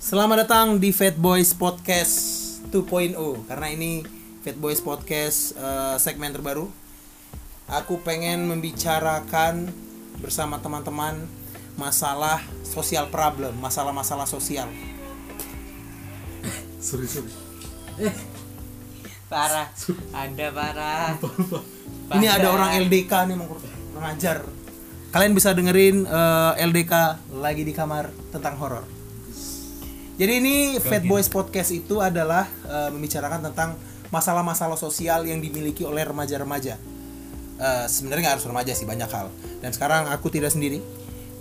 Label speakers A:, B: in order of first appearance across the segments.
A: Selamat datang di Fat Boys Podcast 2.0 Karena ini Fat Boys Podcast eh, segmen terbaru Aku pengen membicarakan bersama teman-teman Masalah sosial problem, masalah-masalah sosial
B: Sorry, sorry.
C: parah anda parah
A: Ini ada orang LDK nih mau mengajar Kalian bisa dengerin eh, LDK lagi di kamar tentang horor. Jadi ini Fat Boys Podcast itu adalah eh, membicarakan tentang masalah-masalah sosial yang dimiliki oleh remaja-remaja. Eh, Sebenarnya nggak harus remaja sih banyak hal. Dan sekarang aku tidak sendiri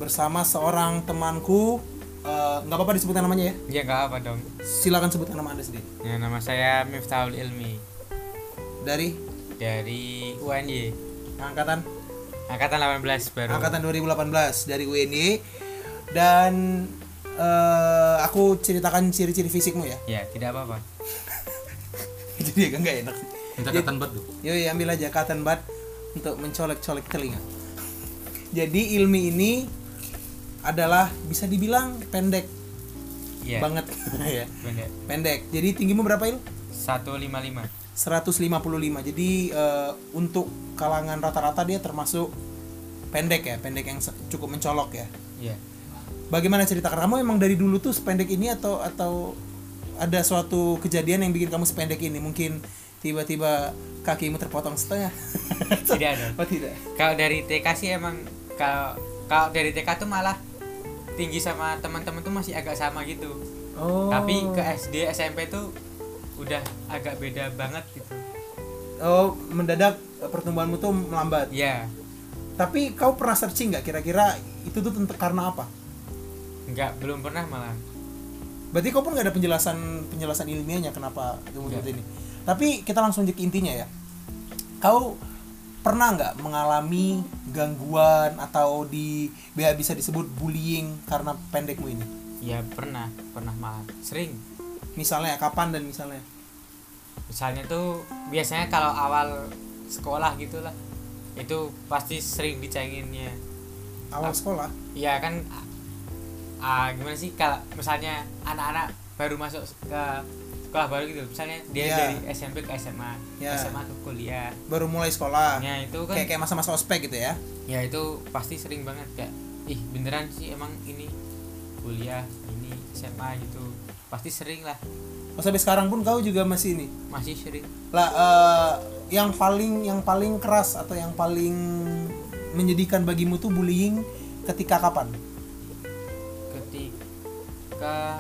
A: bersama seorang temanku eh, nggak apa-apa disebutkan namanya ya.
C: ya nggak apa dong
A: Silakan sebutkan nama anda sendiri.
C: ya, nama saya Miftahul Ilmi
A: Dari
C: dari UNY
A: angkatan
C: angkatan 18 baru
A: Oh. angkatan 2018 dari UNY dan eh, aku ceritakan ciri-ciri fisikmu ya
C: ya tidak apa apa
A: jadi agak nggak enak sih
B: Minta katan bat dong.
A: yoi ambil aja cotton bud untuk mencolek-colek telinga jadi ilmi ini adalah bisa dibilang pendek
C: ya
A: banget ya
C: benar
A: pendek jadi tinggimu berapa il
C: 155
A: 155 jadi eh, untuk kalangan rata-rata dia termasuk pendek ya pendek yang se- cukup mencolok ya
C: ya
A: Bagaimana cerita kamu emang dari dulu tuh sependek ini atau atau ada suatu kejadian yang bikin kamu sependek ini? Mungkin tiba-tiba kakimu terpotong setengah?
C: tidak dong
A: Apa tidak?
C: kalau dari TK sih emang kalau kalau dari TK tuh malah tinggi sama teman-teman tuh masih agak sama gitu
A: Oh.
C: tapi ke SD SMP tuh udah agak beda banget gitu
A: oh mendadak eh, pertumbuhanmu tuh melambat.
C: ya
A: Tapi kau pernah searching nggak kira-kira itu tuh tentu karena apa?
C: nggak belum pernah malah
A: Berarti kau pun nggak ada penjelasan penjelasan ilmiahnya kenapa kamu
C: Nggak.
A: seperti ini. Tapi kita langsung aja ke intinya ya. Kau pernah nggak mengalami gangguan atau di ya bisa disebut bullying karena pendekmu ini?
C: ya pernah pernah malah sering
A: Misalnya kapan dan misalnya?
C: misalnya tuh biasanya kalau awal sekolah gitulah itu pasti sering dicanginnya
A: Awal sekolah.
C: ya kan ah gimana sih kalau misalnya anak-anak baru masuk ke sekolah baru gitu misalnya dia
A: Iya.
C: dari SMP ke SMA
A: Iya.
C: SMA ke kuliah
A: Baru mulai sekolah.
C: ya itu kan
A: Kayak kayak masa-masa ospek gitu ya.
C: ya itu pasti sering banget kayak ih beneran sih emang ini kuliah ini SMA gitu pasti sering lah
A: Pas sampai sekarang pun kau juga masih ini.
C: masih sering
A: Lah eh, yang paling yang paling keras atau yang paling menyedihkan bagimu tuh bullying ketika kapan?
C: ketika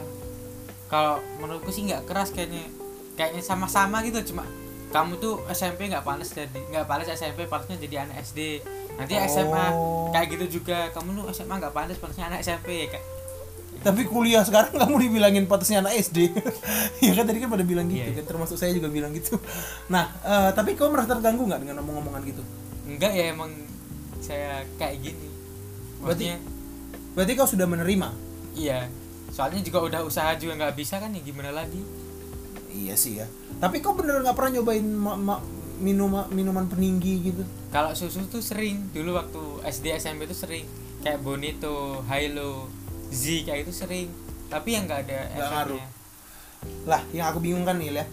C: kalau menurutku sih nggak keras kayaknya kayaknya sama-sama gitu cuma kamu tuh SMP nggak panas jadi nggak panas SMP panasnya jadi anak SD nanti
A: Oh.
C: SMA kayak gitu juga kamu tuh SMA nggak panas panasnya anak SMP ya kayak
A: Tapi kuliah sekarang kamu dibilangin patusnya anak SD. ya kan tadi kan pada bilang gitu
C: Iya, iya.
A: kan termasuk saya juga bilang gitu. Nah, eh, tapi kau merasa terganggu nggak dengan omong-omongan gitu?
C: enggak ya emang saya kayak gini
A: Berarti-
C: maksudnya
A: Berarti kau sudah menerima?
C: iya soalnya juga udah usaha juga nggak bisa kan ya gimana lagi
A: Iya sih ya. Tapi kau bener nggak pernah nyobain ma- ma- minum- minuman peninggi gitu?
C: kalau susu tuh sering dulu waktu SD SMP tuh sering kayak Bonito, Hilo, Z kayak itu sering tapi yang nggak ada efeknya.
A: ngaruh. Lah, yang aku bingung kan Nil ya.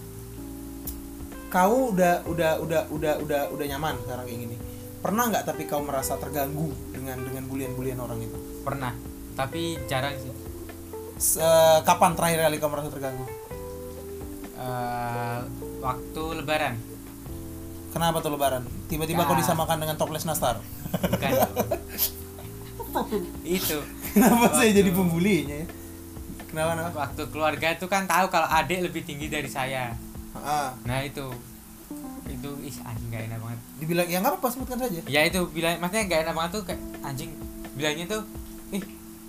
A: Kau udah udah udah udah udah udah nyaman sekarang kayak gini. Pernah nggak tapi kau merasa terganggu dengan dengan bulian-bulian orang itu?
C: pernah tapi jarang sih
A: Se- kapan terakhir kali kau merasa terganggu?
C: Eh, waktu Lebaran
A: Kenapa tuh lebaran? Tiba-tiba kau
C: Ya.
A: disamakan dengan toples nastar.
C: bukan itu
A: Kenapa saya
C: Waduh.
A: jadi pembulinya ya? Kenapa kenapa?
C: waktu keluarga itu kan tahu kalau adik lebih tinggi dari saya
A: Ah,
C: nah itu itu ih anjing gak enak banget
A: dibilang ya nggak apa-apa sebutkan saja.
C: ya itu bilang maksudnya gak enak banget tuh kayak anjing bilangnya tuh ih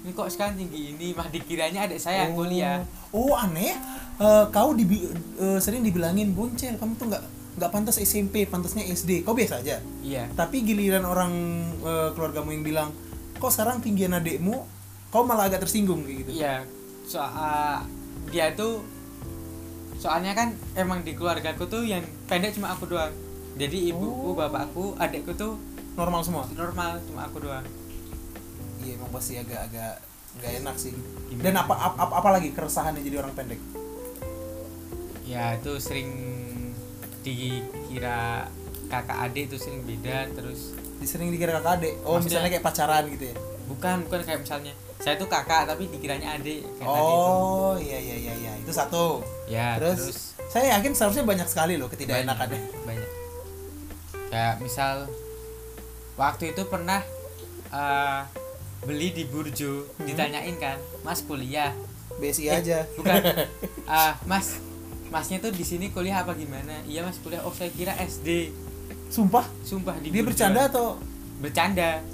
C: ini kok sekarang tinggi ini mah dikiranya adik saya yang kuliah
A: Oh aneh. Eh, kau dibi- eh, sering dibilangin boncel, kamu tuh nggak nggak pantas SMP, pantasnya SD. Kau biasa aja.
C: iya
A: Tapi giliran orang eh, keluargamu yang bilang, kok sekarang tinggian adekmu, kau malah agak tersinggung kayak gitu.
C: Iya, soal dia tuh soalnya kan emang di keluargaku tuh yang pendek cuma aku doang. Jadi
A: Oh.
C: ibuku, bapakku, adikku tuh
A: Normal semua.
C: normal cuma aku doang.
A: Iya emang pasti agak-agak nggak enak sih
C: Gimana?
A: dan apa apa apa- apa lagi keresahannya jadi orang pendek
C: ya itu sering dikira kakak adik itu sering beda terus
A: sering dikira kakak adik oh
C: Maksudnya-
A: misalnya kayak pacaran gitu ya
C: bukan bukan kayak misalnya saya tuh kakak tapi dikiranya adik kayak tadi itu
A: oh iya iya iya iya itu satu
C: ya
A: terus,
C: terus
A: saya yakin seharusnya banyak sekali loh ketidakenakannya
C: banyak kayak misal waktu itu pernah eh, beli di Burjo
A: Hmm.
C: ditanyain kan mas kuliah
A: BSI
C: Eh,
A: aja
C: bukan ah mas masnya tuh di sini kuliah apa gimana iya mas kuliah oh saya kira SD
A: sumpah
C: sumpah di
A: dia
C: Burjo.
A: bercanda atau
C: bercanda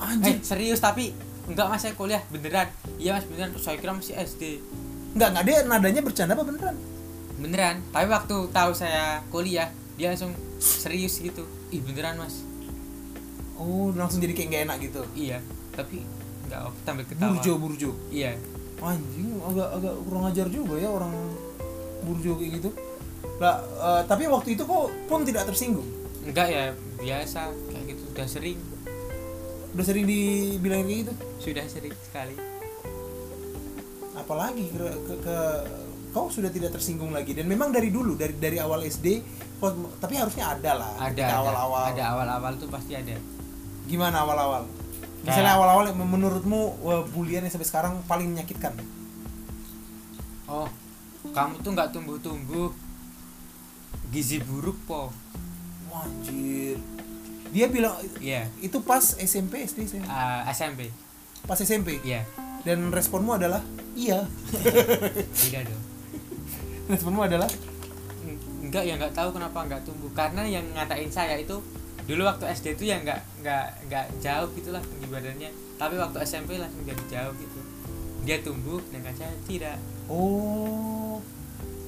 A: anjir
C: Eh, serius tapi enggak mas saya kuliah beneran iya mas beneran saya kira masih SD
A: nggak nggak dia nadanya bercanda apa beneran
C: beneran tapi waktu tahu saya kuliah dia langsung serius gitu ih beneran mas
A: oh langsung jadi kayak nggak enak gitu
C: iya tapi enggak apa tampil ketawa
A: burjo burjo
C: iya
A: anjing agak agak kurang ajar juga ya orang burjo kayak gitu lah eh, tapi waktu itu kok pun tidak tersinggung
C: enggak ya biasa kayak gitu udah sering
A: udah sering dibilangin kayak gitu
C: sudah sering sekali
A: apalagi ke, ke, ke- kau sudah tidak tersinggung lagi dan memang dari dulu dari dari awal SD kau- tapi harusnya ada lah
C: ada
A: ketika
C: ada.
A: awal-awal
C: ada awal-awal tuh pasti ada
A: gimana awal-awal
C: Kayak-
A: misalnya awal-awal yang menurutmu wah, bulian yang sampai sekarang paling menyakitkan
C: oh kamu tuh nggak tumbuh-tumbuh gizi buruk po
A: wah anjir dia bilang
C: iya
A: itu pas SMP SD saya
C: Ah, SMP
A: pas SMP
C: iya
A: dan responmu adalah iya
C: tidak dong
A: responmu adalah
C: enggak ya nggak tahu kenapa nggak tumbuh karena yang ngatain saya itu dulu waktu SD itu ya nggak nggak nggak jauh gitulah tinggi badannya tapi waktu SMP langsung jadi jauh gitu dia tumbuh dengan saya tidak
A: Oh,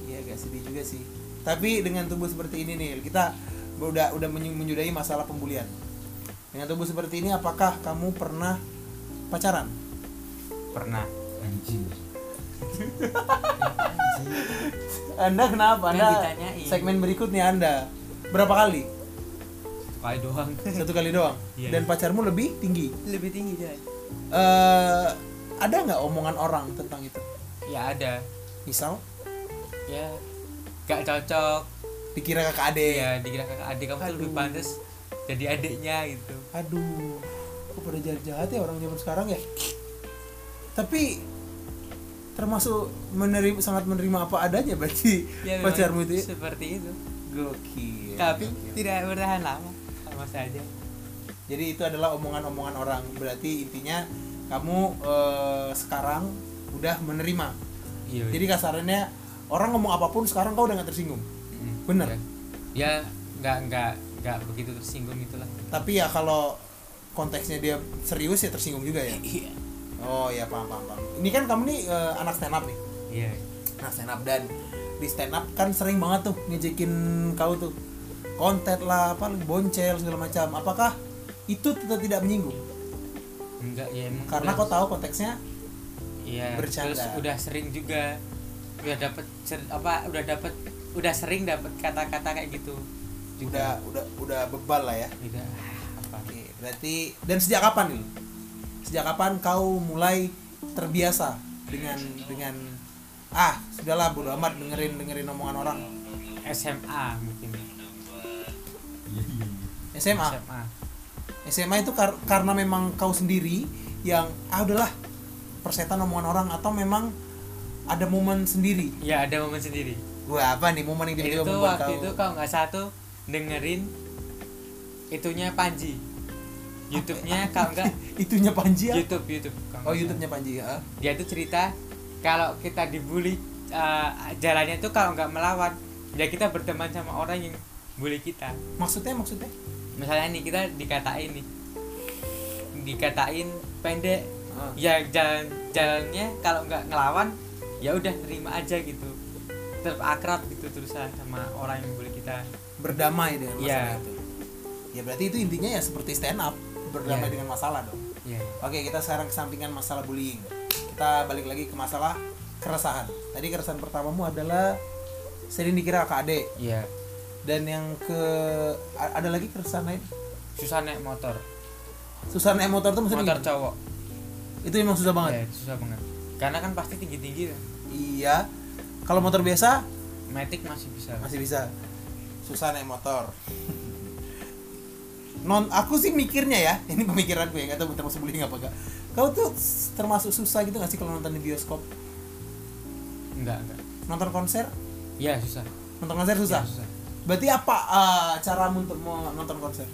A: iya agak sedih juga sih. Tapi dengan tubuh seperti ini nih, kita udah udah menyu- menyudahi masalah pembulian. Dengan tubuh seperti ini, apakah kamu pernah pacaran?
C: pernah
B: anjing
A: Anda kenapa?
C: Kan
A: Anda
C: ditanyain.
A: segmen berikutnya Anda berapa kali?
C: Satu kali doang
A: Satu kali doang.
C: Iya.
A: Dan pacarmu lebih tinggi.
C: lebih tinggi dia
A: eh ada nggak omongan orang tentang itu?
C: ya ada
A: Misal,
C: ya nggak cocok
A: dikira kakak adik.
C: ya dikira kakak adik kamu tuh lebih
A: Aduh.
C: pantas jadi adiknya gitu
A: Aduh, kok pada jahat-jahat ya orang zaman sekarang ya? Tapi termasuk menerima sangat menerima apa adanya berarti
C: ya, memang
A: pacarmu itu ya? Iya,
C: seperti itu
A: Gokil.
C: tapi
A: gokil.
C: tidak bertahan lama sama saja
A: Jadi itu adalah omongan-omongan orang. Berarti intinya kamu eh, sekarang udah menerima.
C: iya
A: Jadi kasarannya orang ngomong apapun sekarang kau udah nggak tersinggung.
C: Mm,
A: Bener.
C: ya. ya nggak nggak nggak begitu tersinggung itulah
A: Tapi ya kalau konteksnya dia serius ya tersinggung juga ya.
C: iya
A: Oh ya paham paham. paham. Ini kan kamu nih eh, anak stand up nih.
C: iya
A: Nah stand up dan di stand up kan sering banget tuh ngejekin kau tuh konten lah apa boncel segala macam. Apakah itu tetap tidak menyinggung?
C: enggak ya emang
A: Karena
C: udah-
A: kau tahu konteksnya.
C: iya
A: bercanda.
C: terus udah sering juga udah dapat apa udah dapat udah sering dapat kata-kata kayak gitu
A: Udah
C: juga
A: udah udah bebal lah ya.
C: udah ah, apa
A: Oke, berarti dan sejak kapan nih? Sejak kapan kau mulai terbiasa dengan dengan ah sudahlah bodo amat dengerin dengerin omongan orang
C: SMA mungkin
B: iya iya iya
A: SMA
C: SMA
A: SMA itu kar- karena memang kau sendiri yang ah udahlah persetan omongan orang atau memang ada momen sendiri.
C: ya ada momen sendiri
A: Wah apa nih momen yang tiba-tiba
C: itu
A: membuat
C: waktu
A: kau?
C: itu kan- kalau nggak satu dengerin itunya Panji YouTube-nya kalau nggak
A: Itunya Panji ya?
C: YouTube YouTube
A: Oh
C: kalau nggak
A: YouTube-nya Panji ya?
C: dia tuh cerita kalau kita dibully eh, jalannya tuh kalau nggak melawan ya kita berteman sama orang yang bully kita
A: Maksudnya maksudnya?
C: misalnya nih kita dikatain nih dikatain pendek
A: Ah.
C: ya jalan jalannya kalau nggak ngelawan ya udah terima aja gitu tetap akrab gitu terusan sama orang yang bully kita
A: Berdamai dengan masalah
C: Iya.
A: itu. Ya berarti itu intinya ya seperti stand up berdamai
C: Iya.
A: dengan masalah dong.
C: ya
A: Oke kita sekarang kesampingan masalah bullying. Kita balik lagi ke masalah keresahan. Tadi keresahan pertamamu adalah sering dikira kakak adik
C: ya
A: dan yang ke a- ada lagi keresahan lain
C: susah naik motor
A: susah naik motor tuh maksudnya
C: motor
A: gimana?
C: cowok
A: itu emang susah
C: Ya,
A: Oh, banget
C: susah banget. Karena kan pasti tinggi-tinggi. ya.
A: iya kalau motor biasa
C: Matic masih bisa.
A: masih bisa susah naik motor non aku sih mikirnya ya ini pemikiranku ya nggak tahu termasuk bullying apa enggak kau tuh s- termasuk susah gitu nggak sih kalau nonton di bioskop
C: Enggak, enggak.
A: nonton konser
C: Ya, susah.
A: nonton konser susah
C: Ya, susah.
A: berarti apa eh, caramu untuk mau nonton konser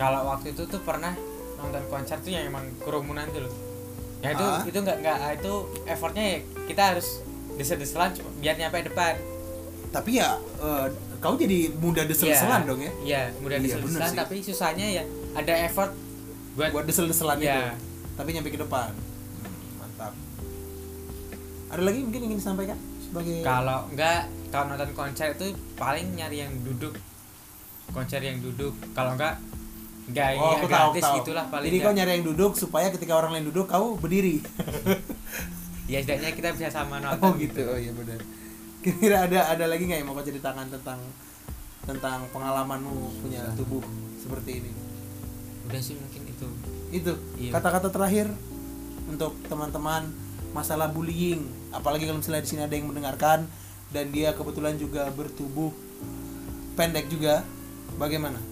C: Kalau waktu itu tuh pernah nonton konser tuh yang emang kerumunan tuh loh. Ya itu
A: Ah.
C: itu enggak enggak itu effortnya ya kita harus desa-deselan cuma biar nyampe depan.
A: tapi ya eh, kau jadi mudah desel-deselan
C: Iya.
A: dong ya
C: Iya, mudah
A: Iya,
C: desel-deselan
A: bener sih.
C: tapi susahnya ya ada effort buat,
A: buat desel-deselan
C: Iya.
A: itu tapi nyampe ke depan Hmm, mantap ada lagi mungkin ingin disampaikan sebagai
C: kalau enggak kalau nonton konser itu paling nyari yang duduk konser yang duduk kalau enggak enggak
A: Oh,
C: yang
A: aku tahu,
C: iya,
A: aku
C: gratis
A: tahu.
C: gitulah paling
A: Jadi
C: enggak.
A: kau nyari yang duduk supaya ketika orang lain duduk kau berdiri.
C: ya setidaknya kita bisa sama nonton
A: oh gitu. Oh iya benar. Kira-kira ada ada lagi nggak yang mau kau ceritakan tentang tentang pengalamanmu punya tubuh seperti ini?
C: udah sih mungkin itu
A: Itu
C: Iya.
A: kata-kata terakhir untuk teman-teman masalah bullying. Apalagi kalau misalnya di sini ada yang mendengarkan dan dia kebetulan juga bertubuh pendek juga. Bagaimana?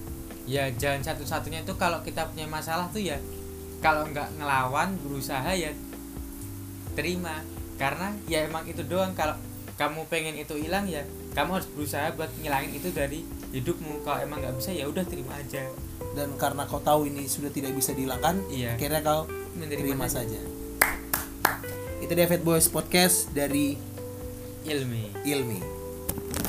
C: ya jalan satu-satunya itu kalau kita punya masalah tuh ya kalau nggak ngelawan berusaha ya terima karena ya emang itu doang kalau kamu pengen itu hilang ya kamu harus berusaha buat ngilangin itu dari hidupmu kalau emang nggak bisa ya udah terima aja
A: Dan karena kau tahu ini sudah tidak bisa dihilangkan,
C: Iya.
A: akhirnya kau
C: menerima
A: terima saja. Itu dia Fat Boys Podcast dari
C: ilmi
A: Ilmi.